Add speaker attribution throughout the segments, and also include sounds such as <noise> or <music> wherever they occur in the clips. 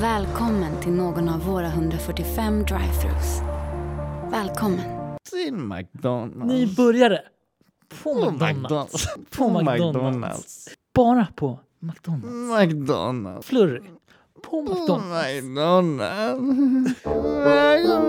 Speaker 1: Välkommen till någon av våra 145 drive-thrus. Välkommen.
Speaker 2: Till McDonalds.
Speaker 3: Ni började på
Speaker 2: På
Speaker 3: McDonalds.
Speaker 2: På
Speaker 3: <laughs> På
Speaker 2: McDonalds.
Speaker 3: Bara på McDonalds.
Speaker 2: McDonalds.
Speaker 3: Flurry. På
Speaker 2: På
Speaker 3: <laughs> McDonalds.
Speaker 2: McDonalds.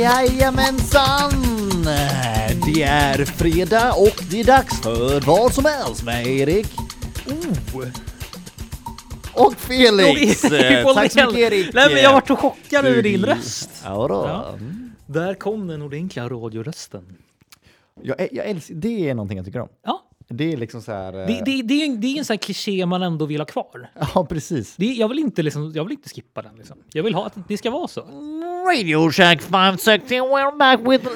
Speaker 2: Jajamensan! Det är fredag och det är dags för vad som helst med Erik.
Speaker 3: Oh.
Speaker 2: Och
Speaker 3: eh,
Speaker 2: Felix! Eh,
Speaker 3: Erik eh,
Speaker 2: Tack så mycket
Speaker 3: Wallén.
Speaker 2: Erik!
Speaker 3: Nej men jag vart så chockad över din röst.
Speaker 2: Ja, då.
Speaker 3: Ja. Där kom den ordentliga radiorösten.
Speaker 2: Jag, ä- jag älskar, det är någonting jag tycker om.
Speaker 3: Ja,
Speaker 2: Det är liksom så här... eh,
Speaker 3: det, det, det, är, en- det är en sån här kliché man ändå vill ha kvar.
Speaker 2: <laughs> Ja, precis.
Speaker 3: Det, jag, vill inte liksom, jag vill inte skippa den. Liksom. Jag vill ha att det ska vara så.
Speaker 2: Radio Shack 560, we're back with...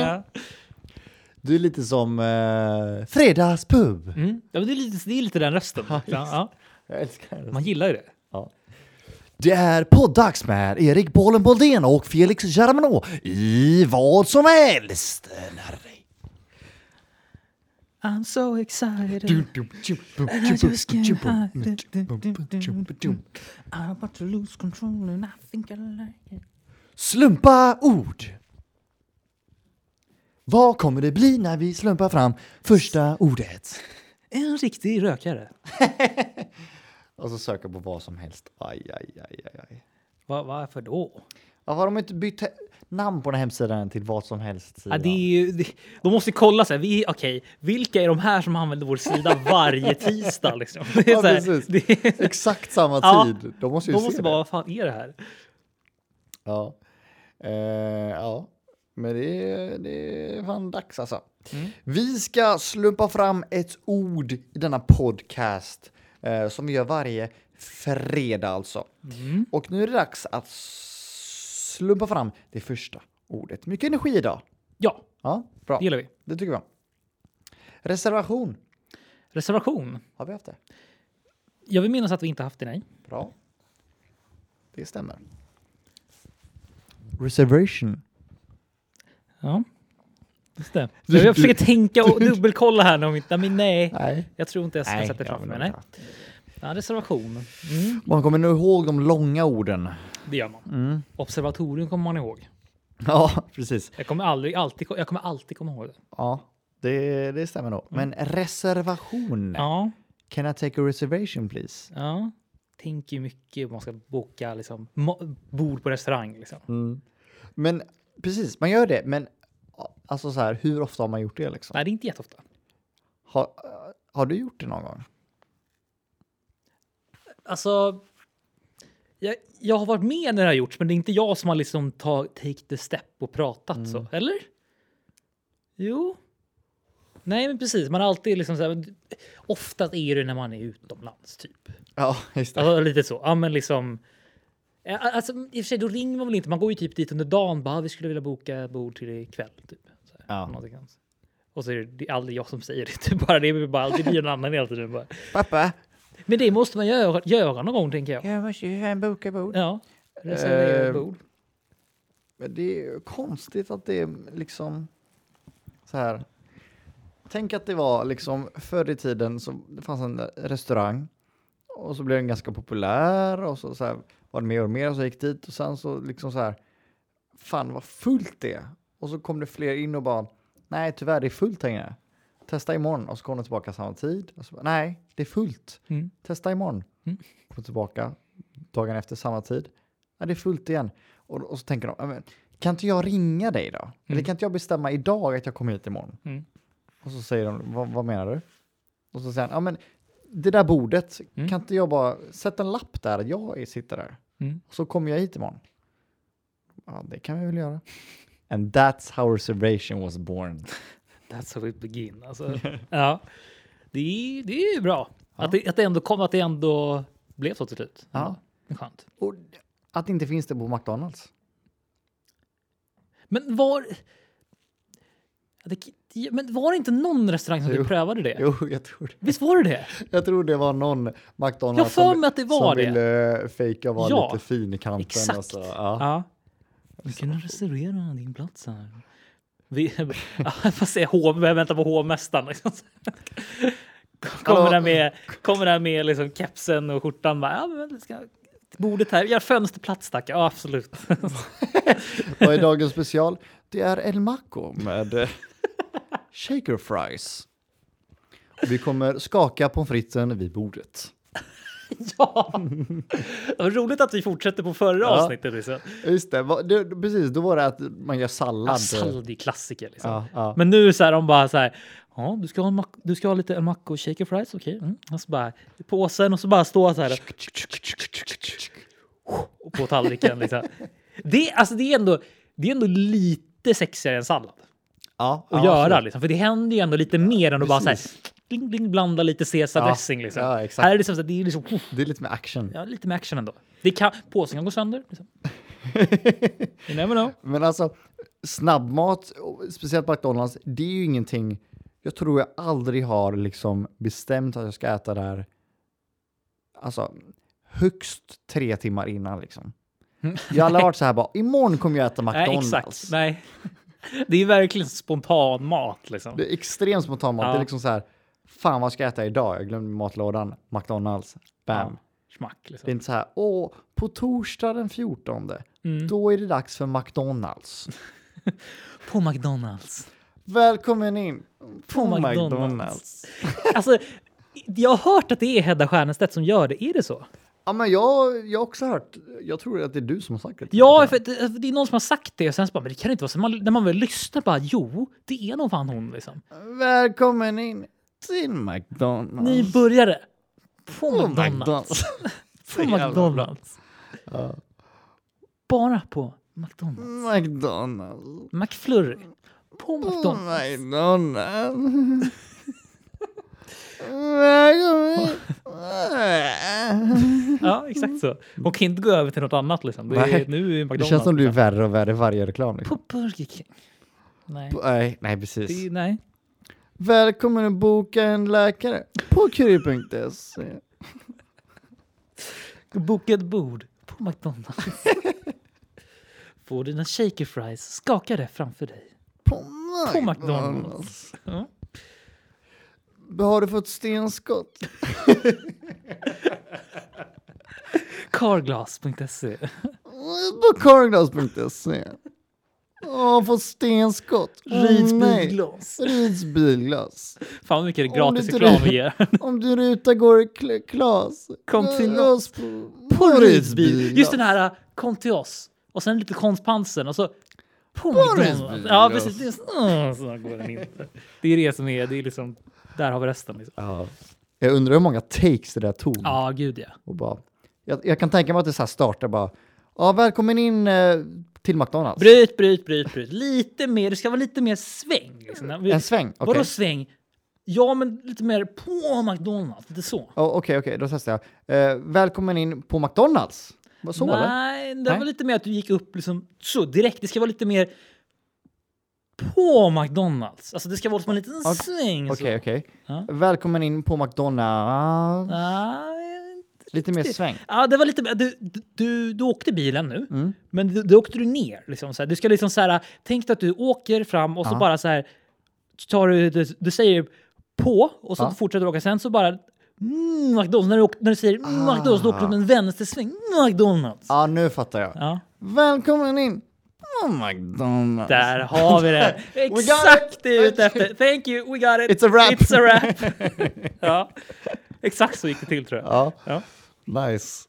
Speaker 3: Ja.
Speaker 2: <laughs> Du är lite som eh, fredagspub.
Speaker 3: Mm. Ja, men det, är lite, det är lite den rösten. Ja, ja.
Speaker 2: Jag älskar det.
Speaker 3: Man gillar ju det.
Speaker 2: Ja. Det är poddags med Erik Bollen Boldén och Felix Germano i vad som helst. Nära dig.
Speaker 3: I'm so excited. And I just can't hide it. I'm about Mm. to lose control and I think I like it.
Speaker 2: Slumpa ord. Vad kommer det bli när vi slumpar fram första ordet?
Speaker 3: En riktig rökare.
Speaker 2: Och så söka på vad som helst. Aj, aj, aj, aj, aj.
Speaker 3: Va, varför då?
Speaker 2: Ja, har de inte bytt he- namn på den här hemsidan till vad som helst?
Speaker 3: Ja, det är ju, det, de måste kolla så här, vi, okej, vilka är de här som använder vår sida varje tisdag? Liksom? Det är
Speaker 2: Ja,
Speaker 3: så här,
Speaker 2: precis.
Speaker 3: det, är-
Speaker 2: Exakt samma
Speaker 3: <laughs> Ja.
Speaker 2: tid. de måste
Speaker 3: de
Speaker 2: ju
Speaker 3: måste
Speaker 2: se
Speaker 3: bara,
Speaker 2: det.
Speaker 3: vad fan är det här?
Speaker 2: Ja. Eh, ja, men det är, det är fan dags alltså.
Speaker 3: Mm.
Speaker 2: Vi ska slumpa fram ett ord i denna podcast eh, som vi gör varje fredag alltså.
Speaker 3: Mm.
Speaker 2: Och nu är det dags att slumpa fram det första ordet. Mycket energi idag.
Speaker 3: Ja,
Speaker 2: Ja, bra.
Speaker 3: det gillar vi.
Speaker 2: Det tycker vi om. Reservation.
Speaker 3: Reservation.
Speaker 2: Har vi haft det?
Speaker 3: Jag vill minnas att vi inte haft det, nej.
Speaker 2: Bra. Det stämmer. Reservation.
Speaker 3: Ja. Just det. Jag, jag försöker tänka och dubbelkolla här. nu Om inte, men nej,
Speaker 2: Nej.
Speaker 3: jag tror inte jag ska sätta
Speaker 2: jag
Speaker 3: framför
Speaker 2: vill
Speaker 3: mig. Nej.
Speaker 2: inte ha.
Speaker 3: Ja, reservation. Mm,
Speaker 2: Man kommer nog ihåg de långa orden.
Speaker 3: det gör man. Observatorium kommer man ihåg.
Speaker 2: <laughs> Ja, precis.
Speaker 3: Jag kommer, aldrig, alltid, jag kommer alltid komma ihåg det.
Speaker 2: Ja, det, det stämmer nog. Men reservation.
Speaker 3: Ja,
Speaker 2: Can I take a reservation please?
Speaker 3: ja. Tänker ju mycket om man ska boka liksom, ma- bord på restaurang. Liksom.
Speaker 2: Men precis, man gör det. Men alltså så här, hur ofta har man gjort det liksom?
Speaker 3: Nej, det är inte jätteofta.
Speaker 2: Har, har du gjort det någon gång?
Speaker 3: Alltså, jag, jag har varit med när det har gjorts, men det är inte jag som har liksom ta, take the step och pratat så, eller? Jo. Nej, men precis. Man har alltid liksom så här, oftast är det när man är utomlands typ.
Speaker 2: Ja, just det.
Speaker 3: Alltså, lite så. Ja, men liksom. Ja, Alltså, I och för sig, då ringer man väl inte. Man går ju typ dit under dagen. Bara, vi skulle vilja boka bord till ikväll. Typ. Så här,
Speaker 2: Ja.
Speaker 3: någonting sånt. Och så är det, det är aldrig jag som säger det. <laughs> Typ bara, det, är bara, det blir en annan hela tiden. Bara.
Speaker 2: Pappa,
Speaker 3: Men det måste man göra, göra någon gång, tänker jag.
Speaker 2: jag måste ju fan boka bord.
Speaker 3: Ja. Reservera
Speaker 2: Eh,
Speaker 3: bord.
Speaker 2: Men det är ju konstigt att det är liksom så här. Tänk att det var liksom förr i tiden så det fanns en restaurang och så blev den ganska populär och så, så här, var det mer och mer och så gick dit och sen så liksom så här. Fan vad fullt det är. Och så kom det fler in och bara nej tyvärr det är fullt längre. Testa imorgon och så kom de tillbaka samma tid. Och så bara, nej det är fullt.
Speaker 3: Mm.
Speaker 2: Testa imorgon.
Speaker 3: Mm.
Speaker 2: Kom tillbaka dagen efter samma tid. Ja, det är fullt igen. Och, och så tänker de, "Ja, men, kan inte jag ringa dig då? Eller kan inte jag bestämma idag att jag kommer hit imorgon?
Speaker 3: Mm.
Speaker 2: Och så säger de, vad, vad menar du? Och så säger han, ja men det där bordet,
Speaker 3: Mm.
Speaker 2: kan inte jag bara sätta en lapp där att jag sitter där?
Speaker 3: Mm.
Speaker 2: Och så kommer jag hit imorgon. Ja, det kan vi väl
Speaker 3: <laughs>
Speaker 2: göra. And that's how reservation was born.
Speaker 3: That's how it begin. <laughs> Alltså. ja. det, är, det är ju bra. Att, det, att det ändå kom, att det ändå blev så till slut.
Speaker 2: Ja.
Speaker 3: Det är Skönt.
Speaker 2: Och att det inte finns det på McDonalds.
Speaker 3: Men var... Det, men var det inte någon restaurang som
Speaker 2: Jo.
Speaker 3: du prövade det?
Speaker 2: Jo, jag tror det.
Speaker 3: Visst var det det?
Speaker 2: Jag tror det var någon McDonalds
Speaker 3: Jag för
Speaker 2: som,
Speaker 3: mig att det var
Speaker 2: som
Speaker 3: det.
Speaker 2: ville eh, fejka och vara
Speaker 3: Ja,
Speaker 2: lite fin i kanten.
Speaker 3: exakt.
Speaker 2: Och så, ja.
Speaker 3: Ja. Du kan reservera din plats här. Vi, <laughs> vad säger H, vänta på hovmästaren. Liksom. <laughs> Kommer
Speaker 2: Hallå.
Speaker 3: där med, kommer där med liksom kepsen och skjortan. Bara, ja, men det ska, bordet här, gör fönsterplats tack. Ja, absolut. <laughs>
Speaker 2: Vad är dagens special? Det är El Maco med
Speaker 3: <laughs>
Speaker 2: eh, shaker fries. Och Vi kommer skaka pommes fritesen vid bordet.
Speaker 3: ja. Det var roligt att vi fortsätter på förra
Speaker 2: Ja.
Speaker 3: avsnittet. Liksom.
Speaker 2: Just det, vad- det, precis, då var det att man gör sallad.
Speaker 3: Ja, sallad är ju klassiker. Liksom.
Speaker 2: Ja, ja.
Speaker 3: Men nu så här, de bara så här. Ja, du ska ha, en mack- du ska ha lite en macka och shaker fries, okej. Mm. Och så bara i påsen och så bara stå så här och på
Speaker 2: <laughs>
Speaker 3: tallriken. Liksom. Det, alltså, det, är ändå, det är ändå lite sexigare än sallad
Speaker 2: Ja, ja,
Speaker 3: att göra,
Speaker 2: absolut.
Speaker 3: liksom. för det händer ju ändå lite mer än att bara så här,
Speaker 2: precis.
Speaker 3: ding, ding, blanda lite caesardressing.
Speaker 2: Ja,
Speaker 3: Liksom.
Speaker 2: ja, exakt.
Speaker 3: här är det, liksom, så här, det är liksom,
Speaker 2: Det är lite mer action.
Speaker 3: ja, lite med action ändå. Det kan, påsen kan gå sönder.
Speaker 2: <laughs>
Speaker 3: Liksom. You never know.
Speaker 2: Men alltså, snabbmat, och speciellt McDonalds, det är ju ingenting jag tror jag aldrig har liksom bestämt att jag ska äta där. Alltså, högst tre timmar innan liksom. Jag har aldrig varit så här bara, imorgon kommer jag äta
Speaker 3: Mm. Nej,
Speaker 2: McDonalds.
Speaker 3: exakt. Nej. <laughs> Det är verkligen spontan mat. Liksom.
Speaker 2: Det är extremt spontant mat.
Speaker 3: Ja.
Speaker 2: Det är liksom så här, fan vad ska jag äta idag? Jag glömde matlådan, McDonalds, bam.
Speaker 3: Schmack,
Speaker 2: Det är
Speaker 3: liksom.
Speaker 2: inte så här, åh, på torsdag den 14,
Speaker 3: Mm.
Speaker 2: då är det dags för McDonalds.
Speaker 3: På McDonalds.
Speaker 2: Välkommen in på
Speaker 3: McDonald's.
Speaker 2: McDonalds.
Speaker 3: <laughs> Alltså, jag har hört att det är Hedda Stiernstedt som gör det. Är det så?
Speaker 2: Ja, men jag, jag har också hört, jag tror att det är du som har sagt det.
Speaker 3: Ja, för det, för det är någon som har sagt det och sen så bara, men det kan det inte vara så. Man, när man väl lyssnar bara, jo, det är nog fan hon liksom.
Speaker 2: Välkommen in till McDonalds.
Speaker 3: Nybörjare. På
Speaker 2: På
Speaker 3: McDonalds. På
Speaker 2: jävla bra.
Speaker 3: McDonalds. Bara på McDonalds.
Speaker 2: Mm. McDonalds.
Speaker 3: McFlurry. På
Speaker 2: På
Speaker 3: McDonalds.
Speaker 2: McDonalds. Välkommen in.
Speaker 3: Ja, exakt så. Hon kan inte gå över till något annat liksom. Det
Speaker 2: Nej.
Speaker 3: är, nu
Speaker 2: Det
Speaker 3: är det McDonalds. liksom.
Speaker 2: känns som du är värre och värre i varje reklam.
Speaker 3: På
Speaker 2: Liksom.
Speaker 3: Burger King. Nej.
Speaker 2: Nej, nej,
Speaker 3: Det,
Speaker 2: precis.
Speaker 3: är- nej.
Speaker 2: Välkommen att boka en läkare på Curie.se.
Speaker 3: Boka ett bord på <laughs> McDonalds. Får dina shaker fries skakade framför dig.
Speaker 2: På
Speaker 3: På
Speaker 2: McDonalds.
Speaker 3: McDonalds. Ja.
Speaker 2: Har du fått stenskott?
Speaker 3: Carglass.se.
Speaker 2: På carglass.se. E. Åh, få stenskott. Åh,
Speaker 3: Rids
Speaker 2: nej.
Speaker 3: bilglas.
Speaker 2: Rids bilglas.
Speaker 3: Fan vad mycket
Speaker 2: Om du
Speaker 3: gratis
Speaker 2: inte
Speaker 3: reklam
Speaker 2: ri-
Speaker 3: vi ger.
Speaker 2: Om du ruta går i kl- klas.
Speaker 3: Kom till
Speaker 2: Gå
Speaker 3: oss.
Speaker 2: På,
Speaker 3: På
Speaker 2: bilglas.
Speaker 3: Rids bil. Just den här, äh, kom till oss. Och sen lite konstpansen och så på
Speaker 2: Rids
Speaker 3: McDonalds.
Speaker 2: bilglas.
Speaker 3: Ja, precis. Det är, så, mm, så går den inte. Det är det som är, det är liksom, där har vi resten. Liksom.
Speaker 2: Ja. Jag undrar hur många takes det där tog.
Speaker 3: Ja, gud ja.
Speaker 2: Och bara, jag, jag kan tänka mig att det så här startar bara. Ja, välkommen in eh, till McDonalds.
Speaker 3: Bryt, bryt, bryt, bryt. Lite mer, det ska vara lite mer sväng. Liksom. När vi-
Speaker 2: en sväng? Okej,
Speaker 3: Vadå sväng? Ja, men lite mer på McDonalds. Lite så.
Speaker 2: Ja, okej, okej, då testar jag. Eh, välkommen in på McDonalds. Vad Så eller?
Speaker 3: Nej, det
Speaker 2: Nej.
Speaker 3: var lite mer att du gick upp liksom, så direkt. Det ska vara lite mer på McDonalds. Alltså det ska vara som en liten
Speaker 2: Okej,
Speaker 3: sväng. så.
Speaker 2: Okej, okej.
Speaker 3: Ja.
Speaker 2: Välkommen in på McDonalds.
Speaker 3: Nej.
Speaker 2: Lite mer sväng.
Speaker 3: Ja, det var lite... Du, du- du, du åkte bilen nu,
Speaker 2: Mm.
Speaker 3: men du, du åkte du ner. Liksom, så här. Du ska liksom så här... Tänk dig att du åker fram och så
Speaker 2: Ja.
Speaker 3: bara så här... Tar du, du, du säger på och så
Speaker 2: Ja.
Speaker 3: fortsätter du åka. Sen så bara... Mm, McDonalds. När du, åker, när du säger mm, McDonalds, då åker
Speaker 2: Ah.
Speaker 3: du med en vänstersväng. Mm, McDonalds.
Speaker 2: Ja, nu fattar jag.
Speaker 3: Ja.
Speaker 2: Välkommen in på McDonalds.
Speaker 3: Där har
Speaker 2: <laughs>
Speaker 3: vi det!
Speaker 2: got
Speaker 3: Exakt
Speaker 2: it.
Speaker 3: det jag är ute efter! Thank you, we got it!
Speaker 2: It's a wrap.
Speaker 3: It's a wrap.
Speaker 2: <laughs>
Speaker 3: ja. Exakt så gick det till tror jag.
Speaker 2: Ja,
Speaker 3: Ja.
Speaker 2: nice.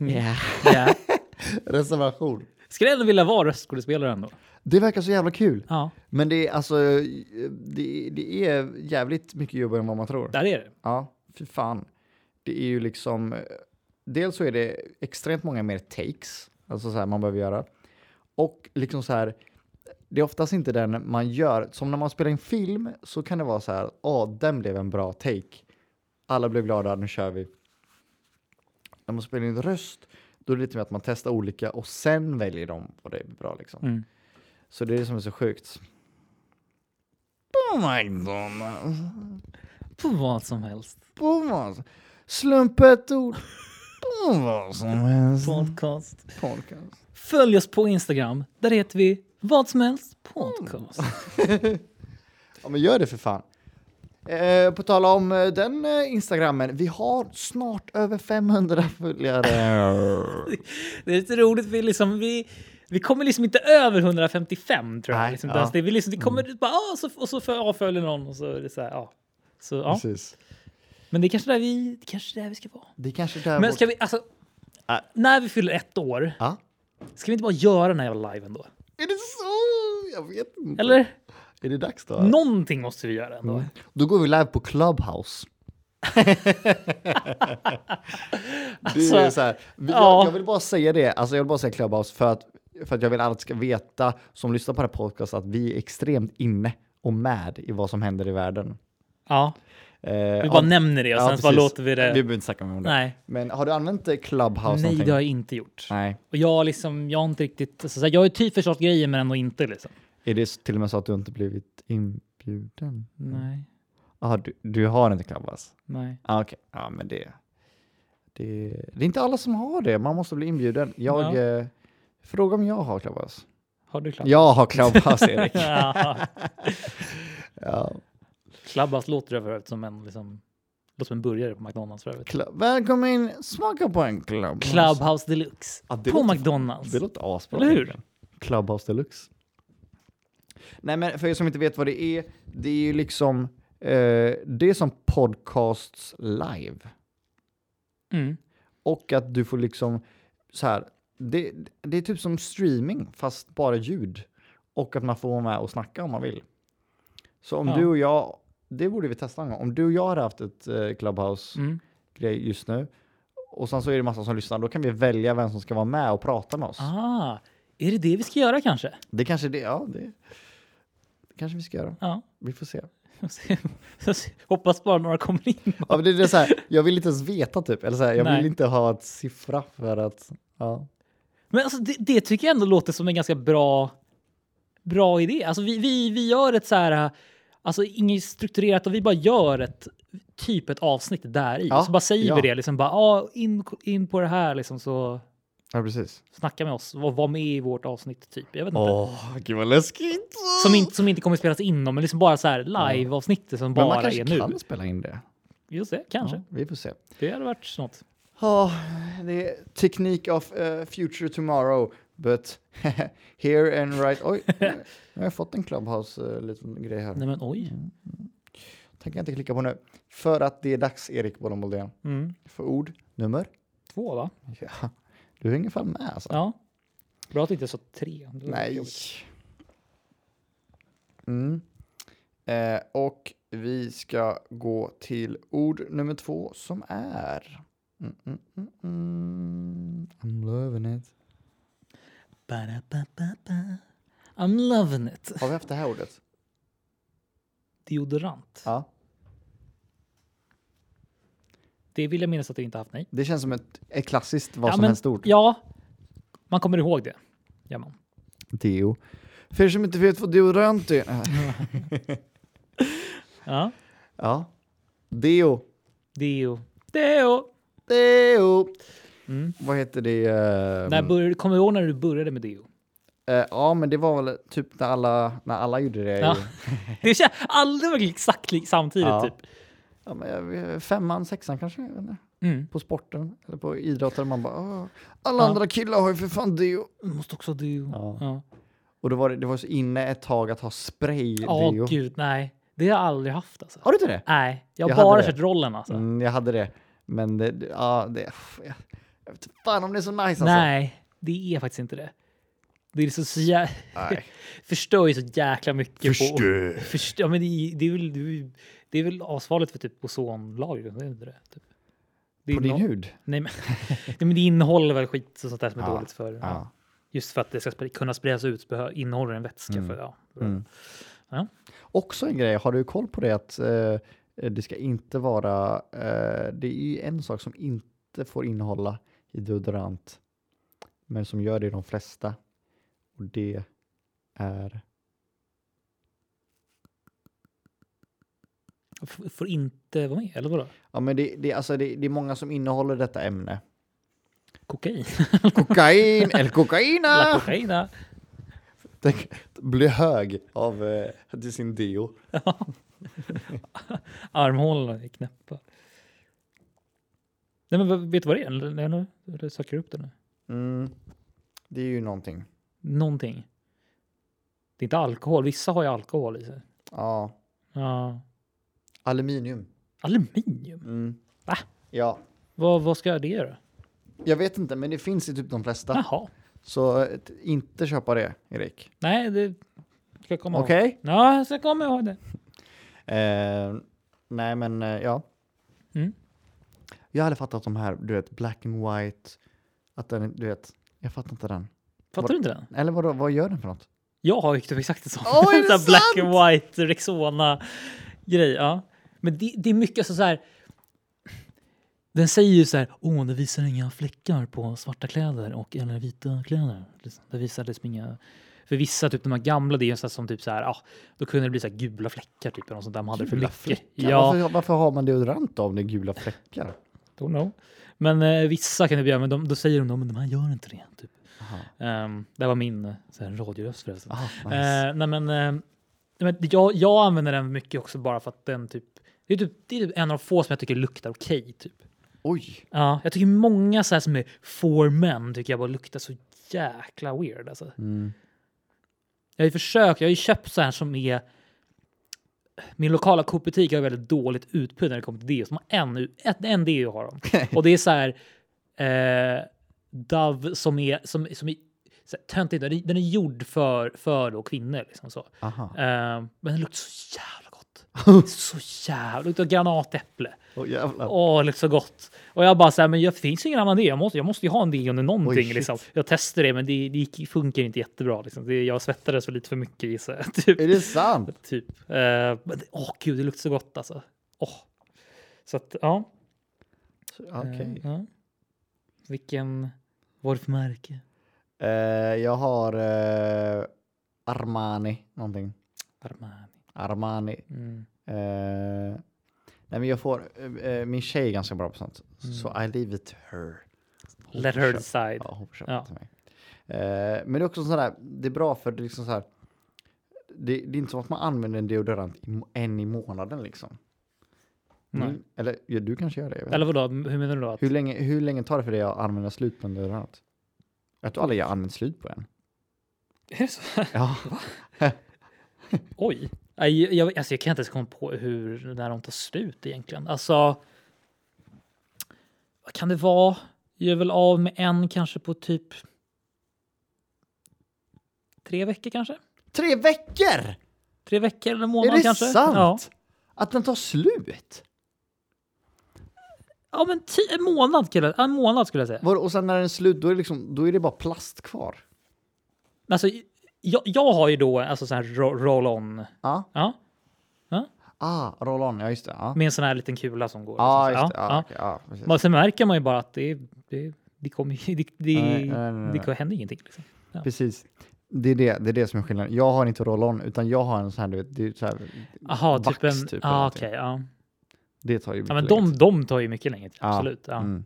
Speaker 2: Yeah.
Speaker 3: Mm. Ja.
Speaker 2: Reservation.
Speaker 3: Skulle ändå vilja vara röstskådespelare ändå.
Speaker 2: Det verkar så jävla kul.
Speaker 3: Ja,
Speaker 2: Men det är alltså, det, det är jävligt mycket jobb än vad man tror.
Speaker 3: där är det.
Speaker 2: Ja, fy fan. det är ju liksom... eh, Dels så är det extremt många mer takes, alltså så här man behöver göra. Och liksom så här, det är oftast inte den man gör. Som när man spelar in film så kan det vara så här, ja, den blev en bra take. Alla blev glada, nu kör vi. När man spelar in röst, då är det lite mer att man testar olika och sen väljer de vad det är bra liksom.
Speaker 3: Mm.
Speaker 2: Så det är det som är så sjukt. Oh my god.
Speaker 3: På vad som helst.
Speaker 2: På vad som- Slumpet ord. På vad som helst.
Speaker 3: Podcast.
Speaker 2: Podcast.
Speaker 3: Följ oss på Instagram. Där heter vi vad som helst podcast.
Speaker 2: Mm. Ja men gör det för fan. Eh, på tal om eh, den eh, instagrammen, vi har snart över 500 <laughs> följare.
Speaker 3: Det är lite roligt, vi, liksom, vi, vi kommer liksom inte över 155 tror jag.
Speaker 2: Nej,
Speaker 3: liksom,
Speaker 2: ja. Mm.
Speaker 3: Alltså, det, vi, liksom, det kommer bara, ah, så, och så för- avföljer någon och så är det så här, ja. Så, ja.
Speaker 2: Precis.
Speaker 3: Men det är kanske där vi, det är kanske där vi ska vara.
Speaker 2: Det är kanske där
Speaker 3: Men
Speaker 2: vårt-
Speaker 3: ska vi, alltså,
Speaker 2: Ja.
Speaker 3: när vi fyller ett år,
Speaker 2: Ja?
Speaker 3: ska vi inte bara göra den här jävla liven då?
Speaker 2: Är det så? Jag vet inte.
Speaker 3: Eller?
Speaker 2: Är det dags då?
Speaker 3: Någonting måste vi göra ändå.
Speaker 2: Då går vi live på
Speaker 3: <laughs>
Speaker 2: Clubhouse. det är
Speaker 3: Alltså,
Speaker 2: så här, vi,
Speaker 3: ja.
Speaker 2: jag, jag vill bara säga det, alltså jag vill bara säga Clubhouse för att, för att jag vill att alla ska veta som lyssnar på den här podcasten att vi är extremt inne och med i vad som händer i världen.
Speaker 3: Ja,
Speaker 2: Eh,
Speaker 3: vi bara nämner det och sen så bara
Speaker 2: precis.
Speaker 3: låter vi det.
Speaker 2: Vi behöver inte snacka mer om det.
Speaker 3: Nej,
Speaker 2: Men har du använt eh, Clubhouse
Speaker 3: nej
Speaker 2: någonting?
Speaker 3: det har jag inte gjort.
Speaker 2: Nej.
Speaker 3: Och jag, har liksom, jag har inte riktigt, alltså, så här, jag har ju typ förstått grejer men ändå inte liksom.
Speaker 2: Är det till och med så att du inte blivit inbjuden?
Speaker 3: Nej,
Speaker 2: Aha, du, du har inte Clubhouse?
Speaker 3: nej.
Speaker 2: Ja, Ah, okej. Ja, men det, det... Det är inte alla som har det. Man måste bli inbjuden. Jag...
Speaker 3: Ja.
Speaker 2: Eh, fråga om jag har Clubhouse.
Speaker 3: Har du klart?
Speaker 2: Jag har
Speaker 3: <laughs>
Speaker 2: Clubhouse, Erik.
Speaker 3: Ja.
Speaker 2: ja.
Speaker 3: Clubhouse låter det för övrigt som en, liksom, låter som en burgare på McDonalds för övrigt.
Speaker 2: Club... Välkommen in. Smaka på en Clubhouse.
Speaker 3: Clubhouse deluxe
Speaker 2: Ja, det
Speaker 3: på
Speaker 2: låter-
Speaker 3: McDonalds.
Speaker 2: Det låter asbra.
Speaker 3: Eller hur?
Speaker 2: egentligen. Clubhouse deluxe. Nej, men för er som inte vet vad det är. Det är ju liksom... Eh, det är som podcasts live.
Speaker 3: Mm.
Speaker 2: Och att du får liksom så här. Det, det är typ som streaming fast bara ljud. Och att man får vara med och snacka om man vill. Så om
Speaker 3: Ja.
Speaker 2: du och jag, det borde vi testa en gång. Om du och jag hade haft ett eh, Clubhouse-grej
Speaker 3: Mm.
Speaker 2: just nu och sen så är det massa som lyssnar, då kan vi välja vem som ska vara med och prata med oss.
Speaker 3: Ah, är det det vi ska göra kanske?
Speaker 2: Det kanske är det, ja det, det kanske vi ska göra.
Speaker 3: <laughs> Ja.
Speaker 2: Vi får se.
Speaker 3: Hoppas bara några kommer in.
Speaker 2: Ja, men det är så här, jag vill inte ens veta typ, eller så här, jag
Speaker 3: Nej.
Speaker 2: vill inte ha ett siffra för att, ja.
Speaker 3: Men alltså, det, det tycker jag ändå låter som en ganska bra, bra idé. Alltså, vi, vi, vi gör ett så här, alltså inget strukturerat, och vi bara gör ett typ ett avsnitt där i.
Speaker 2: Ja,
Speaker 3: Så bara säger
Speaker 2: ja.
Speaker 3: vi det, liksom bara ah, in, in på det här liksom så
Speaker 2: Ja, precis.
Speaker 3: snacka med oss och var med i vårt avsnitt typ. Jag vet inte.
Speaker 2: Åh, gud vad läskigt!
Speaker 3: Som inte, som inte kommer spelas in men liksom bara så här live-avsnittet som
Speaker 2: Men man
Speaker 3: bara
Speaker 2: kanske
Speaker 3: är nu.
Speaker 2: kan spela in det.
Speaker 3: Just det, kanske.
Speaker 2: Ja, vi får se.
Speaker 3: Det hade varit något.
Speaker 2: Ja, Ah, det är Technique of eh, Future Tomorrow, but <laughs> here and right...
Speaker 3: <laughs>
Speaker 2: Oj, nu har jag fått en Clubhouse eh, liten grej här.
Speaker 3: Nej men oj.
Speaker 2: Tänker jag inte klicka på nu. För att det är dags, Erik Bollon Boldén,
Speaker 3: Mm.
Speaker 2: för ord, nummer.
Speaker 3: Två va?
Speaker 2: Ja, du hänger fan med alltså.
Speaker 3: Ja. Bra att det inte sa tre. Det var
Speaker 2: Nej.
Speaker 3: jobbigt.
Speaker 2: Mm. Eh, och vi ska gå till ord nummer två som är... Mm, mm, mm, mm. I'm loving it.
Speaker 3: Ba-da-ba-ba-ba. I'm loving it.
Speaker 2: Har vi haft det här
Speaker 3: <laughs>
Speaker 2: ordet?
Speaker 3: Deodorant.
Speaker 2: Ja.
Speaker 3: Det vill jag minnas att du inte haft, nej.
Speaker 2: Det känns som ett, ett klassiskt vad
Speaker 3: ja,
Speaker 2: som
Speaker 3: men-
Speaker 2: helst ord.
Speaker 3: Ja, man kommer ihåg det. Ja, man.
Speaker 2: Deo. För er som inte vet vad deodorant är... <laughs>
Speaker 3: ja.
Speaker 2: ja. Deo. Mm.
Speaker 3: Deo. Deo!
Speaker 2: Deo.
Speaker 3: Mm.
Speaker 2: Vad heter det? ehm,
Speaker 3: När bör, kommer du ihåg när du började med deo?
Speaker 2: eh, ja, men det var väl typ när alla, när alla gjorde det.
Speaker 3: Ja. <laughs>
Speaker 2: i-
Speaker 3: Det känns aldrig var exakt lik- samtidigt
Speaker 2: Ja.
Speaker 3: typ.
Speaker 2: Ja, men jag vet- femman, sexan kanske? jag vet inte.
Speaker 3: Mm.
Speaker 2: På sporten eller på idrotten. Man bara, "Åh, alla
Speaker 3: Ja.
Speaker 2: andra killar har ju för fan deo.
Speaker 3: Måste också ha deo.
Speaker 2: Ja.
Speaker 3: Ja.
Speaker 2: Och då var det, det var så inne ett tag att ha
Speaker 3: Ja,
Speaker 2: spray-deo.
Speaker 3: gud nej. Det har jag aldrig haft alltså.
Speaker 2: har du inte det?
Speaker 3: Nej, jag
Speaker 2: Jag
Speaker 3: har
Speaker 2: hade
Speaker 3: bara
Speaker 2: det.
Speaker 3: kört rollen alltså.
Speaker 2: Mm, jag hade det. Men det, det- ja, det... Jag, jag vet inte fan om det är så nice alltså.
Speaker 3: Nej, det är faktiskt inte det. Det är så, så jä...
Speaker 2: Nej.
Speaker 3: <laughs> förstör ju så jäkla mycket.
Speaker 2: Förstör.
Speaker 3: På... Förstör. Ja, men det, är- det är väl, det är väl- det är väl asfarligt för typ ozonlagret? är det inte det? Typ. Det är
Speaker 2: På din
Speaker 3: nå-
Speaker 2: hud?
Speaker 3: Nej, men, nej, men det innehåller väl skit och sånt där som är
Speaker 2: Ja,
Speaker 3: dåligt för.
Speaker 2: Ja.
Speaker 3: Just för att det ska spr- kunna spridas ut behö- innehåller en vätska. För, ja.
Speaker 2: Mm.
Speaker 3: Ja.
Speaker 2: Också en grej, har du koll på det att eh, det ska inte vara, eh, det är ju en sak som inte får innehålla i deodorant, men som gör det i de flesta. Och det är,
Speaker 3: F- får inte vara med, eller vadå?
Speaker 2: ja men det, det, alltså det, det är många som innehåller detta ämne. <laughs>
Speaker 3: Kokain?
Speaker 2: Kokain, <laughs> eller
Speaker 3: La
Speaker 2: kokaina!
Speaker 3: kokaina?
Speaker 2: Tänk, bli hög av eh, till sin deo.
Speaker 3: Armhålorna är knäppa. Nej, men vad- vet du vad det är? Eller, eller, eller, söker du upp det nu?
Speaker 2: Mm. Det är ju någonting.
Speaker 3: Någonting. Det är inte alkohol. Vissa har ju alkohol i sig.
Speaker 2: Ja.
Speaker 3: Ja.
Speaker 2: Aluminium.
Speaker 3: Aluminium?
Speaker 2: Mm.
Speaker 3: Va?
Speaker 2: Ja.
Speaker 3: Vad, vad ska det göra?
Speaker 2: Jag vet inte, men det finns i typ de flesta.
Speaker 3: Jaha.
Speaker 2: Så eh, t- inte köpa det, Erik.
Speaker 3: Nej, det ska jag komma ihåg.
Speaker 2: Okej?
Speaker 3: Ja, jag ska komma ihåg det.
Speaker 2: Eh, nej, men eh, ja.
Speaker 3: Mm.
Speaker 2: Jag hade fattat de här, du vet, black and white. Att den, du vet, jag fattar inte den.
Speaker 3: Fattar du inte den?
Speaker 2: Eller vadå, vad gör den för något?
Speaker 3: Jag har ju typ exakt en sån.
Speaker 2: Åh,
Speaker 3: <laughs>
Speaker 2: är det
Speaker 3: Så här black
Speaker 2: sant?
Speaker 3: and white Rexona-grej. Ja. Men det, det är mycket så, så här. Den säger ju så här. Åh, det visar inga fläckar på svarta kläder och eller vita kläder. Liksom. Det visar liksom inga. För vissa, typ de här gamla, det är ju så här, som typ så här. Ah, då kunde det bli så här gula fläckar typ. Eller något sånt där. Man hade för
Speaker 2: Gula
Speaker 3: mycket.
Speaker 2: fläckar?
Speaker 3: Ja,
Speaker 2: Varför, varför har man deodorant då om det är gula fläckar?
Speaker 3: don't know. Men eh, vissa kan det bli. Men de, då säger de, "Ja, men de här gör inte det. Typ.
Speaker 2: Aha.
Speaker 3: Ehm, det var min eh, så här, radioröst förresten.
Speaker 2: Ah, nice.
Speaker 3: Eh, nej men, eh, men jag, jag använder den mycket också bara för att den typ det är, typ, det är typ en av de få som jag tycker luktar okej. typ.
Speaker 2: Oj,
Speaker 3: Ja, jag tycker många så här som är for men tycker jag bara luktar så jäkla weird. Alltså.
Speaker 2: Mm.
Speaker 3: Jag har ju försökt, jag har ju köpt så här som är... Min lokala Coop-butik har väldigt dåligt utbud när det kommer till deo. Så de har en, ett, en deo har de. Och det är så här... Eh, Dove som är... Som, som är så här, töntigt, den är- den är gjord för, för då kvinnor. Liksom så.
Speaker 2: aha.
Speaker 3: Eh, men den luktar så jävla gott. så jävla... Luktar granatäpple.
Speaker 2: Åh jävlar.
Speaker 3: Åh, det luktar så gott. Och jag bara så här, men det finns ju ingen annan deo. Jag måste, jag måste ju ha en deo under
Speaker 2: Oj,
Speaker 3: någonting.
Speaker 2: shit.
Speaker 3: liksom. Jag testade det, men det, det gick, funkar inte jättebra. Liksom. Det, jag svettades för lite för mycket gissar jag. <laughs> Typ.
Speaker 2: Är det sant?
Speaker 3: typ. Eh, men det, åh gud, det luktar så gott alltså. Åh. Så att, ja.
Speaker 2: Okej.
Speaker 3: Eh, ja. Vilken... Vad är det för märke?
Speaker 2: Eh, jag har eh, Armani, någonting.
Speaker 3: Armani.
Speaker 2: Armani.
Speaker 3: Mm.
Speaker 2: Eh, nej men jag får, eh, eh, min tjej är ganska bra på sånt. Så I leave it to her. Hon
Speaker 3: Let
Speaker 2: får
Speaker 3: her
Speaker 2: köpa-
Speaker 3: decide.
Speaker 2: Ja, hon får köpa
Speaker 3: Ja.
Speaker 2: till mig. Eh, men det är också sådär, det är bra för det är liksom så här. Det, det är inte som att man använder en deodorant i, må- en i månaden liksom.
Speaker 3: Nej.
Speaker 2: Min- eller ja, du kanske gör det? jag vet
Speaker 3: Eller
Speaker 2: inte.
Speaker 3: vadå, hur menar du då? Att,
Speaker 2: Mm. Hur länge, hur länge tar det för dig att använda slut på en deodorant? Jag tror aldrig jag har använt slut på
Speaker 3: <laughs>
Speaker 2: en.
Speaker 3: är det så?
Speaker 2: Ja.
Speaker 3: Oj. Nej, Jag, alltså jag kan inte ens komma på hur, när de tar slut egentligen. Alltså, vad kan det vara? Jag är väl av med en kanske på typ tre veckor kanske?
Speaker 2: Tre veckor!
Speaker 3: Tre veckor eller en
Speaker 2: Är
Speaker 3: månad
Speaker 2: det
Speaker 3: kanske?
Speaker 2: sant?
Speaker 3: Ja.
Speaker 2: Att den tar slut?
Speaker 3: ja, men ti- en månad, skulle jag, en månad skulle jag säga.
Speaker 2: Var, och sen när den är slut, då är, det liksom, då är det bara plast kvar.
Speaker 3: Men Alltså, jag, jag har ju då alltså sån här ro- roll-on.
Speaker 2: Ja.
Speaker 3: Ja,
Speaker 2: Ah, roll-on, ja just det. Ja,
Speaker 3: med en sån här liten kula som går.
Speaker 2: ah,
Speaker 3: Så-
Speaker 2: just det.
Speaker 3: ja,
Speaker 2: Ah,
Speaker 3: ja.
Speaker 2: okej, ja, precis.
Speaker 3: Men sen märker man ju bara att det, det, det, kommer, ju- det, det,
Speaker 2: Nej, nej, nej,
Speaker 3: det,
Speaker 2: nej.
Speaker 3: händer ingenting. Liksom. Ja.
Speaker 2: precis. Det är det, det är det som är skillnaden. Jag har inte roll-on, utan jag har en sån här, du vet, det är så här,
Speaker 3: Jaha, typ
Speaker 2: vax
Speaker 3: en...
Speaker 2: typ eller
Speaker 3: ah,
Speaker 2: någonting.
Speaker 3: okej. ja.
Speaker 2: det tar ju
Speaker 3: ja, men
Speaker 2: mycket
Speaker 3: de,
Speaker 2: längre
Speaker 3: de tar ju mycket längre tid.
Speaker 2: Ja,
Speaker 3: Absolut. Ja.
Speaker 2: tid.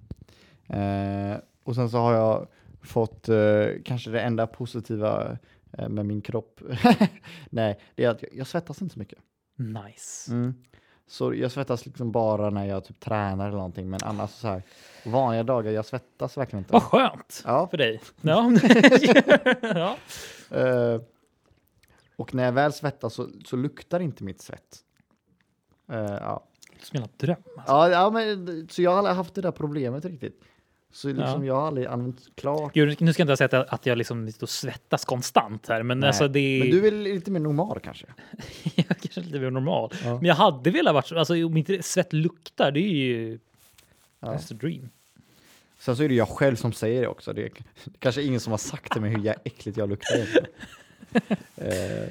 Speaker 2: Mm. Eh, och sen så har jag fått eh, kanske det enda positiva eh, med min kropp. <laughs> Nej, det är att jag, jag svettas inte så mycket. Mm.
Speaker 3: Nice.
Speaker 2: Så jag svettas liksom bara när jag typ tränar eller någonting, men annars så här, vanliga dagar, jag svettas verkligen inte.
Speaker 3: Vad skönt
Speaker 2: Ja. <laughs>
Speaker 3: för dig. Ja. <laughs> ja.
Speaker 2: Eh, och när jag väl svettas så, så luktar inte mitt svett. Eh, ja.
Speaker 3: Som en jävla dröm. Alltså.
Speaker 2: Ja, ja, men, så jag har aldrig haft det där problemet riktigt. Så liksom
Speaker 3: Ja.
Speaker 2: jag har aldrig använt klart.
Speaker 3: Gud, nu ska jag inte säga att jag, att jag liksom sitter och svettas konstant här, men
Speaker 2: Nej.
Speaker 3: alltså det...
Speaker 2: Men du är lite mer normal kanske?
Speaker 3: <laughs> jag kanske är lite mer normal.
Speaker 2: Ja.
Speaker 3: Men jag hade velat varit så- alltså om inte svett luktar, det är ju
Speaker 2: Ja.
Speaker 3: That's the dream.
Speaker 2: Sen så är det jag själv som säger det också. Det är k- det är kanske ingen som har sagt till mig hur jä- äckligt jag luktar
Speaker 3: <laughs>
Speaker 2: egentligen. Eh, eh,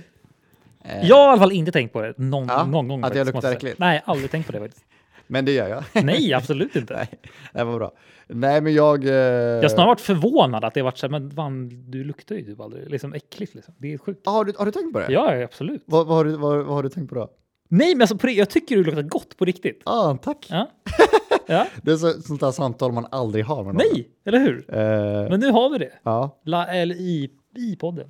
Speaker 3: Jag har i alla fall inte tänkt på det någon,
Speaker 2: Ja,
Speaker 3: någon gång.
Speaker 2: att jag
Speaker 3: faktiskt, måste
Speaker 2: luktar
Speaker 3: säga.
Speaker 2: äckligt.
Speaker 3: Nej, aldrig tänkt på
Speaker 2: <laughs>
Speaker 3: det faktiskt.
Speaker 2: Men det gör jag.
Speaker 3: Nej, absolut inte.
Speaker 2: det var bra. Nej, men jag... eh,
Speaker 3: Jag har snarare varit förvånad att det har varit så här, men fan, du luktar ju typ aldrig. Liksom äckligt liksom. Det är sjukt.
Speaker 2: Ah, har, du, har du tänkt på det?
Speaker 3: Ja, absolut.
Speaker 2: Vad, vad, har du, vad, vad har du tänkt på då?
Speaker 3: Nej, men alltså, på det, jag tycker du luktar gott på riktigt.
Speaker 2: Ah, tack. <laughs>
Speaker 3: Ja. ja.
Speaker 2: Det är så, sånt där samtal man aldrig har med någon.
Speaker 3: Nej, eller hur?
Speaker 2: Eh,
Speaker 3: Men nu har vi det.
Speaker 2: ja.
Speaker 3: La, eller i, i podden.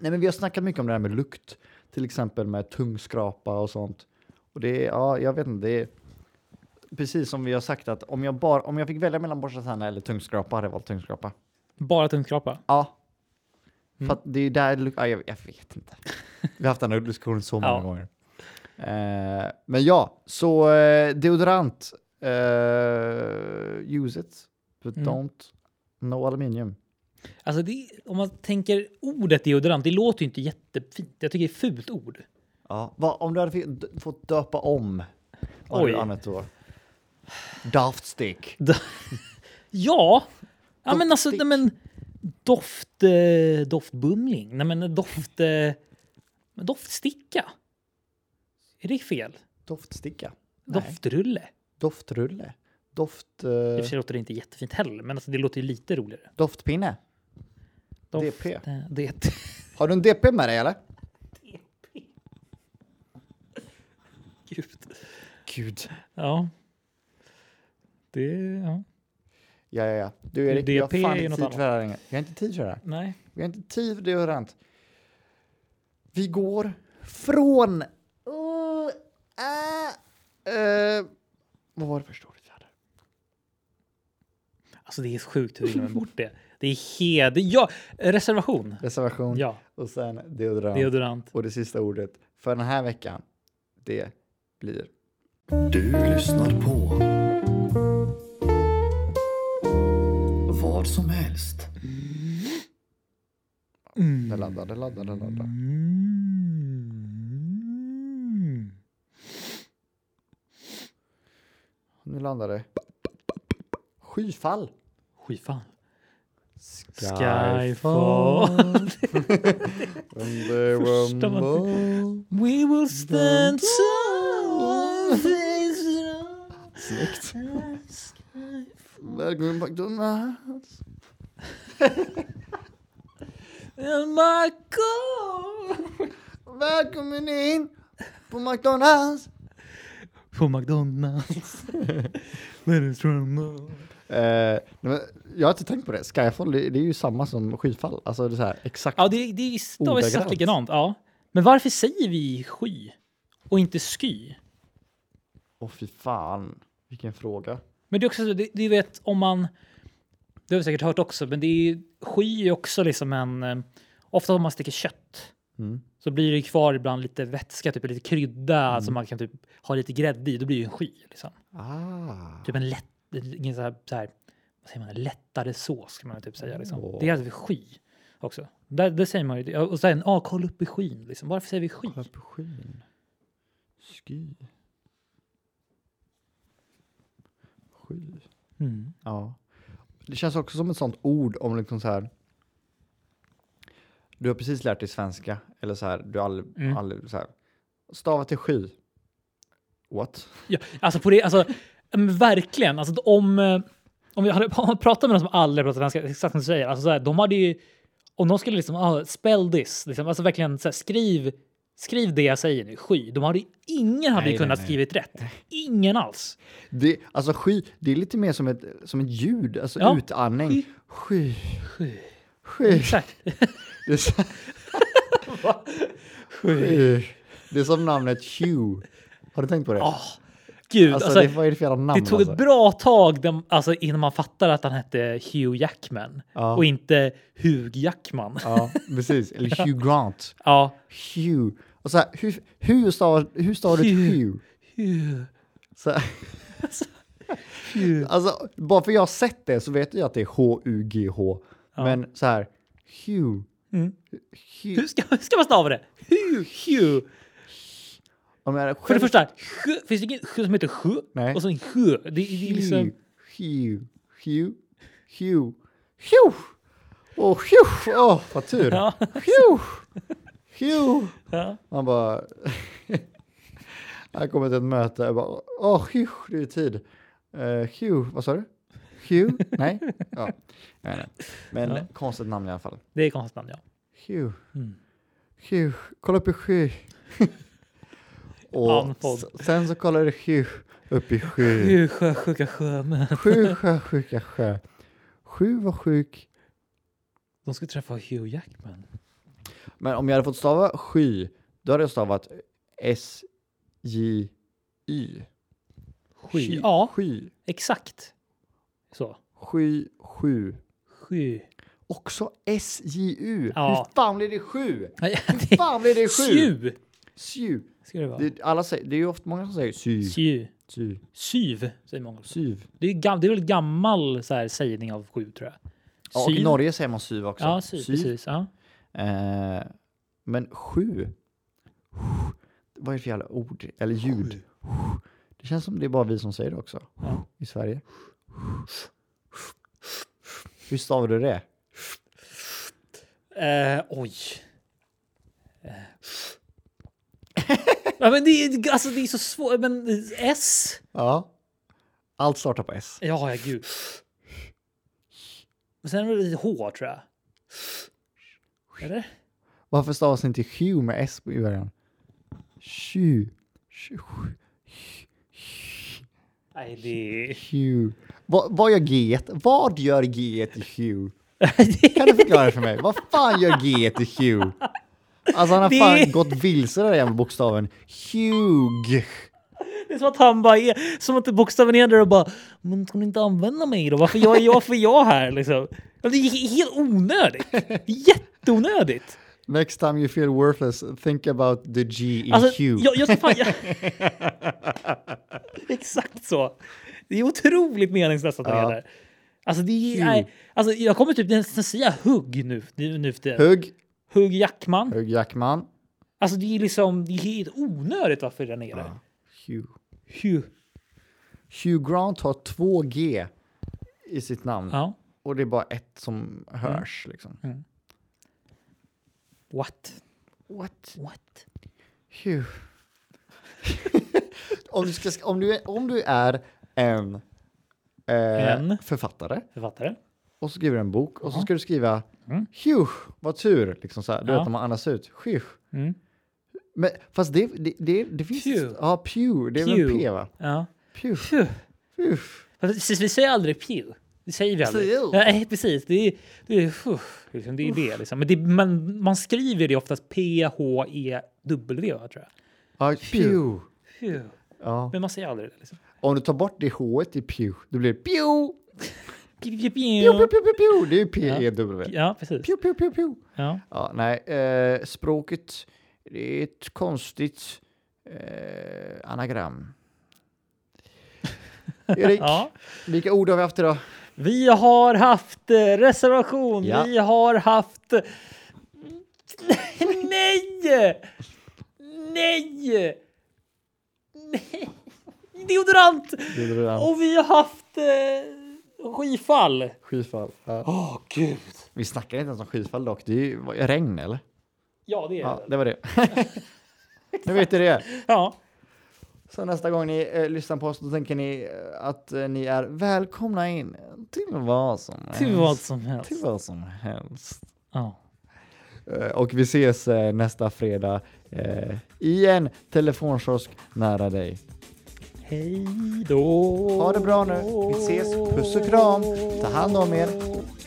Speaker 2: Nej, men vi har snackat mycket om det här med lukt, till exempel med tungskrapa och sånt. Och det är, ja, jag vet inte, det är precis som vi har sagt att om jag, bara, om jag fick välja mellan borsta tänderna eller tungskrapa hade jag valt tungskrapa.
Speaker 3: Bara tungskrapa.
Speaker 2: Ja.
Speaker 3: Mm.
Speaker 2: För att det är där, luk- ja, jag, jag vet <laughs> inte. Vi har haft den här diskussionen så många
Speaker 3: Ja.
Speaker 2: gånger. Eh, men ja, så eh, deodorant, eh, use it, but
Speaker 3: Mm.
Speaker 2: don't, no aluminium.
Speaker 3: Alltså det, om man tänker ordet deodorant, det låter ju inte jättefint. Jag tycker det är ett fult ord.
Speaker 2: Ja, vad, om du hade fi- d- fått döpa om, vad hade du
Speaker 3: Oj.
Speaker 2: använt då? Daftstick.
Speaker 3: Ja, ja men alltså,
Speaker 2: Doftstick.
Speaker 3: nej, men, doft, eh, doftbumling, nej men doft, eh, men doftsticka. Är det fel?
Speaker 2: Doftsticka. Nej.
Speaker 3: Doftrulle.
Speaker 2: Doftrulle. Doft, eh,
Speaker 3: I och för sig låter det inte jättefint heller, men alltså, det låter ju lite roligare.
Speaker 2: doftpinne.
Speaker 3: Doft,
Speaker 2: DP.
Speaker 3: eh, Det,
Speaker 2: Har du en DP med dig eller?
Speaker 3: <laughs> gud.
Speaker 2: Gud.
Speaker 3: Ja. Det, ja.
Speaker 2: Ja, ja, ja. Du Erik, vi har
Speaker 3: DP
Speaker 2: fan
Speaker 3: är ju
Speaker 2: inte
Speaker 3: något
Speaker 2: tid för det här längre. Vi har inte tid för det här.
Speaker 3: Nej.
Speaker 2: Vi har inte tid för deodorant. Vi går från... Uh, äh, eh, vad var det första ordet vi hade?
Speaker 3: Alltså det är sjukt hur vi glömmer bort det. Det är heder... Ja, reservation.
Speaker 2: Reservation
Speaker 3: Ja,
Speaker 2: och sen deodorant.
Speaker 3: deodorant.
Speaker 2: Och det sista ordet för den här veckan, det blir...
Speaker 4: Du lyssnar på vad som helst.
Speaker 2: Det laddar, det laddar, det laddar.
Speaker 3: Mm.
Speaker 2: Nu landar det. Skyfall.
Speaker 3: Skyfall.
Speaker 2: <laughs>
Speaker 3: Skyfall.
Speaker 2: And there
Speaker 3: Första
Speaker 2: were
Speaker 3: man-
Speaker 2: more.
Speaker 3: We will stand tall.
Speaker 2: Snyggt. Välkommen McDonalds.
Speaker 3: And <laughs> my God.
Speaker 2: Välkommen in på McDonalds.
Speaker 3: På McDonalds. <laughs> Let it rumble.
Speaker 2: Eh, nej, men jag har inte tänkt på det. Skyfall, det, det är ju samma som skyfall. Alltså det är så här, exakt.
Speaker 3: Ja, det, det är stavar
Speaker 2: Ordagrant.
Speaker 3: exakt likadant. Ja. Men varför säger vi sky och inte sky?
Speaker 2: Åh fy fan, vilken fråga.
Speaker 3: Men det är också, så- det, det vet om man, det har vi säkert hört också, men det är ju- sky är också liksom en, eh, ofta om man steker kött
Speaker 2: Mm.
Speaker 3: så blir det ju kvar ibland lite vätska, typ lite krydda som man kan typ ha lite grädde i, då blir det ju en sky. Liksom.
Speaker 2: Ah.
Speaker 3: Typ en lätt, ingen så här, så här, vad säger man, en lättare sås kan man typ säga. Liksom.
Speaker 2: Åh.
Speaker 3: Det är alltså sky också. Där, där säger man ju, det. och sen, ah, kolla upp i skyn, liksom. varför säger vi sky?
Speaker 2: Kolla på skyn. Sky. Sky.
Speaker 3: Mm.
Speaker 2: Ja. Det känns också som ett sånt ord om liksom så här. Du har precis lärt dig svenska eller så här. Du har aldrig,
Speaker 3: Mm.
Speaker 2: aldrig så här. Stava till sky. What?
Speaker 3: Ja, alltså på det, alltså, men verkligen. Alltså om, eh, om vi hade <laughs> pratat med någon som aldrig pratat svenska, exakt som du säger, alltså så här, de hade ju, om de skulle liksom, ah, spell this, liksom, alltså verkligen så här, skriv, skriv det jag säger nu, sky. De hade ju, ingen hade
Speaker 2: Nej,
Speaker 3: ju kunnat
Speaker 2: nej, nej.
Speaker 3: skrivit rätt. Ingen alls.
Speaker 2: Det, alltså sky, det är lite mer som ett, som ett ljud, alltså
Speaker 3: Ja.
Speaker 2: utandning. Sky.
Speaker 3: Sky.
Speaker 2: Sky. <laughs>
Speaker 3: Exakt.
Speaker 2: Det är,
Speaker 3: <laughs>
Speaker 2: så,
Speaker 3: Sky.
Speaker 2: det är som namnet Hugh. Har du tänkt på det?
Speaker 3: Ah, Gud,
Speaker 2: alltså,
Speaker 3: alltså,
Speaker 2: det,
Speaker 3: det,
Speaker 2: vad är det för jävla namn?
Speaker 3: tog
Speaker 2: alltså?
Speaker 3: ett bra tag dem- alltså, innan man fattar att han hette Hugh Jackman
Speaker 2: Ja.
Speaker 3: och inte Hugh Jackman.
Speaker 2: Ja, precis.
Speaker 3: <laughs>
Speaker 2: Eller Hugh Grant.
Speaker 3: Ja.
Speaker 2: Hugh. Och så här, hur, hur stavar, hur stavar du ett
Speaker 3: Hugh.
Speaker 2: Hugh?
Speaker 3: Hugh.
Speaker 2: Så här,
Speaker 3: Hugh.
Speaker 2: alltså, bara för jag har sett det så vet jag att det är H-U-G-H. Men så här, Hugh.
Speaker 3: Mm. Hur
Speaker 2: Hugh.
Speaker 3: ska, hur ska man stava det? Hugh, Hugh.
Speaker 2: Om jag hade
Speaker 3: För det
Speaker 2: själv-
Speaker 3: första, sjö, finns det ingen sjö som heter sjö?
Speaker 2: Nej.
Speaker 3: Och så en sjö. Det, det är liksom...
Speaker 2: Hugh. Hugh, Hugh, Hugh, Hugh! Och Hugh! Åh, vad tur!
Speaker 3: Ja. <laughs>
Speaker 2: Hugh! Hugh!
Speaker 3: Ja.
Speaker 2: Man bara... Här kommer till ett möte. Jag bara, åh, Hugh, det är tid. Eh, Hugh, vad sa du? Hugh? Nej? Ja. Nej, nej. Men
Speaker 3: Ja.
Speaker 2: konstigt namn i alla fall.
Speaker 3: Det är konstigt namn, ja.
Speaker 2: Hugh.
Speaker 3: Mm.
Speaker 2: Hugh, kolla upp i sky. Och
Speaker 3: Andfådd.
Speaker 2: s- sen så kollade Hugh upp i sky.
Speaker 3: Sju sjö, sjuka sjömän.
Speaker 2: Sju sjö, sjuka sjö. Sju var sjuk.
Speaker 3: De skulle träffa Hugh Jackman.
Speaker 2: Men om jag hade fått stava sky, då hade jag stavat S-J-Y.
Speaker 3: Sky. Ja,
Speaker 2: Sky.
Speaker 3: exakt. Så.
Speaker 2: Sky, sju.
Speaker 3: Sju.
Speaker 2: Också S-J-U.
Speaker 3: Ja.
Speaker 2: Hur fan blir det
Speaker 3: <laughs>
Speaker 2: sju?
Speaker 3: Nej, det
Speaker 2: Hur fan blir det
Speaker 3: är
Speaker 2: sju?
Speaker 3: sju.
Speaker 2: Sju.
Speaker 3: Ska det vara.
Speaker 2: Det, alla säger, det är ju ofta många som säger sy.
Speaker 3: Sju.
Speaker 2: Sy.
Speaker 3: Syv, säger många.
Speaker 2: Syv.
Speaker 3: Det är, gam, det är väl gammal så här, sägning av sju, tror jag.
Speaker 2: Ja, och i Norge säger man syv också.
Speaker 3: Ja, syv,
Speaker 2: Syv.
Speaker 3: precis. Ja.
Speaker 2: Eh, men sju. Vad är det för jävla ord? Eller ljud? Det känns som det är bara vi som säger det också.
Speaker 3: Ja.
Speaker 2: I Sverige. Hur stavar du det?
Speaker 3: Eh, oj. Eh. <laughs> ja, men det, är, alltså, det är så svårt. Men S?
Speaker 2: Ja. Allt startar på S.
Speaker 3: Ja, ja gud. Och sen är det H, tror jag. Eller?
Speaker 2: Varför stavas inte Hugh med S i början? Tju. Tju.
Speaker 3: Nej, det är...
Speaker 2: Hugh. Vad, vad gör G? Vad gör G i Hugh? Kan du förklara för mig? Vad fan gör G i Hugh? Alltså han har
Speaker 3: Det-
Speaker 2: fan gått vilse den där jävla bokstaven. Hugh.
Speaker 3: Det är som att han bara är, som att bokstaven är där och bara “men ska ni inte använda mig då? Varför jag, jag, varför jag här?” liksom. Ja, Det är helt onödigt. Jätteonödigt.
Speaker 2: Next time you feel worthless, think about the G in
Speaker 3: Alltså,
Speaker 2: Hugh.
Speaker 3: jag, jag ska fan, jag... <laughs> Exakt så. Det är otroligt meningslöst att han
Speaker 2: Ja.
Speaker 3: är där. Alltså, det är,
Speaker 2: Hugh.
Speaker 3: nej, alltså, jag kommer typ nästan säga hugg nu, nu, nu för tiden.
Speaker 2: Hugg.
Speaker 3: Hugg Jackman.
Speaker 2: Hugh Jackman.
Speaker 3: Alltså det är liksom, det är helt onödigt varför den är där.
Speaker 2: Hugh.
Speaker 3: Hugh.
Speaker 2: Hugh Grant har två G i sitt namn.
Speaker 3: Ja. Mm.
Speaker 2: Och det är bara ett som hörs liksom.
Speaker 3: What?
Speaker 2: What?
Speaker 3: What?
Speaker 2: Hugh. <laughs> om, du ska, om, du är, om du är en, eh,
Speaker 3: En.
Speaker 2: författare
Speaker 3: Författare?
Speaker 2: och så skriver du en bok och så ska du skriva Hugh, vad tur, liksom så här. Du
Speaker 3: Mm. Ja.
Speaker 2: vet när man andas ut. Hugh.
Speaker 3: Mm.
Speaker 2: Men fast det, det, det, det finns...
Speaker 3: Pew.
Speaker 2: Ja, pew. Det är väl
Speaker 3: Pew.
Speaker 2: P va?
Speaker 3: Ja.
Speaker 2: Pew.
Speaker 3: Phew.
Speaker 2: Pew.
Speaker 3: Precis, vi säger aldrig pew. Det säger vi aldrig.
Speaker 2: Pew.
Speaker 3: Nej, precis. Det är det. Är, phew, liksom, det, är det liksom. Men det, man, man skriver det oftast P-H-E-W, va, tror jag.
Speaker 2: Ja, pew.
Speaker 3: Phew.
Speaker 2: Ja.
Speaker 3: Men man säger aldrig det. Liksom.
Speaker 2: Om du tar bort det H i pew, då blir det pew.
Speaker 3: Pew, pew,
Speaker 2: Pew, pew,
Speaker 3: pew.
Speaker 2: pew, pew, pew. Det är ju E P-E-W.
Speaker 3: Ja, precis.
Speaker 2: Pew, pew, pew, pew.
Speaker 3: Ja.
Speaker 2: Ja, nej, eh, språket det är ett konstigt eh, anagram. <laughs> Erik,
Speaker 3: Ja.
Speaker 2: vilka ord har vi haft idag?
Speaker 3: Vi har haft eh, reservation.
Speaker 2: Ja.
Speaker 3: Vi har haft... Nej! Nej! Nej! Deodorant!
Speaker 2: Oh.
Speaker 3: Och vi har haft eh, skyfall.
Speaker 2: Skyfall. Ja.
Speaker 3: Åh, gud.
Speaker 2: Vi snackar inte ens om skyfall dock, det är ju vad- regn eller?
Speaker 3: Ja, det är
Speaker 2: Ja,
Speaker 3: det.
Speaker 2: det var <laughs> det. nu vet ni det.
Speaker 3: Ja.
Speaker 2: Så nästa gång ni eh, lyssnar på oss då tänker ni eh, att eh, ni är välkomna in till vad som helst.
Speaker 3: Till vad som helst.
Speaker 2: Till vad som helst.
Speaker 3: Ja.
Speaker 2: Eh, Och vi ses eh, nästa fredag eh, i en telefonkiosk nära dig.
Speaker 3: Hej då!
Speaker 2: Ha det bra nu. Vi ses. Puss och kram. Ta hand om er.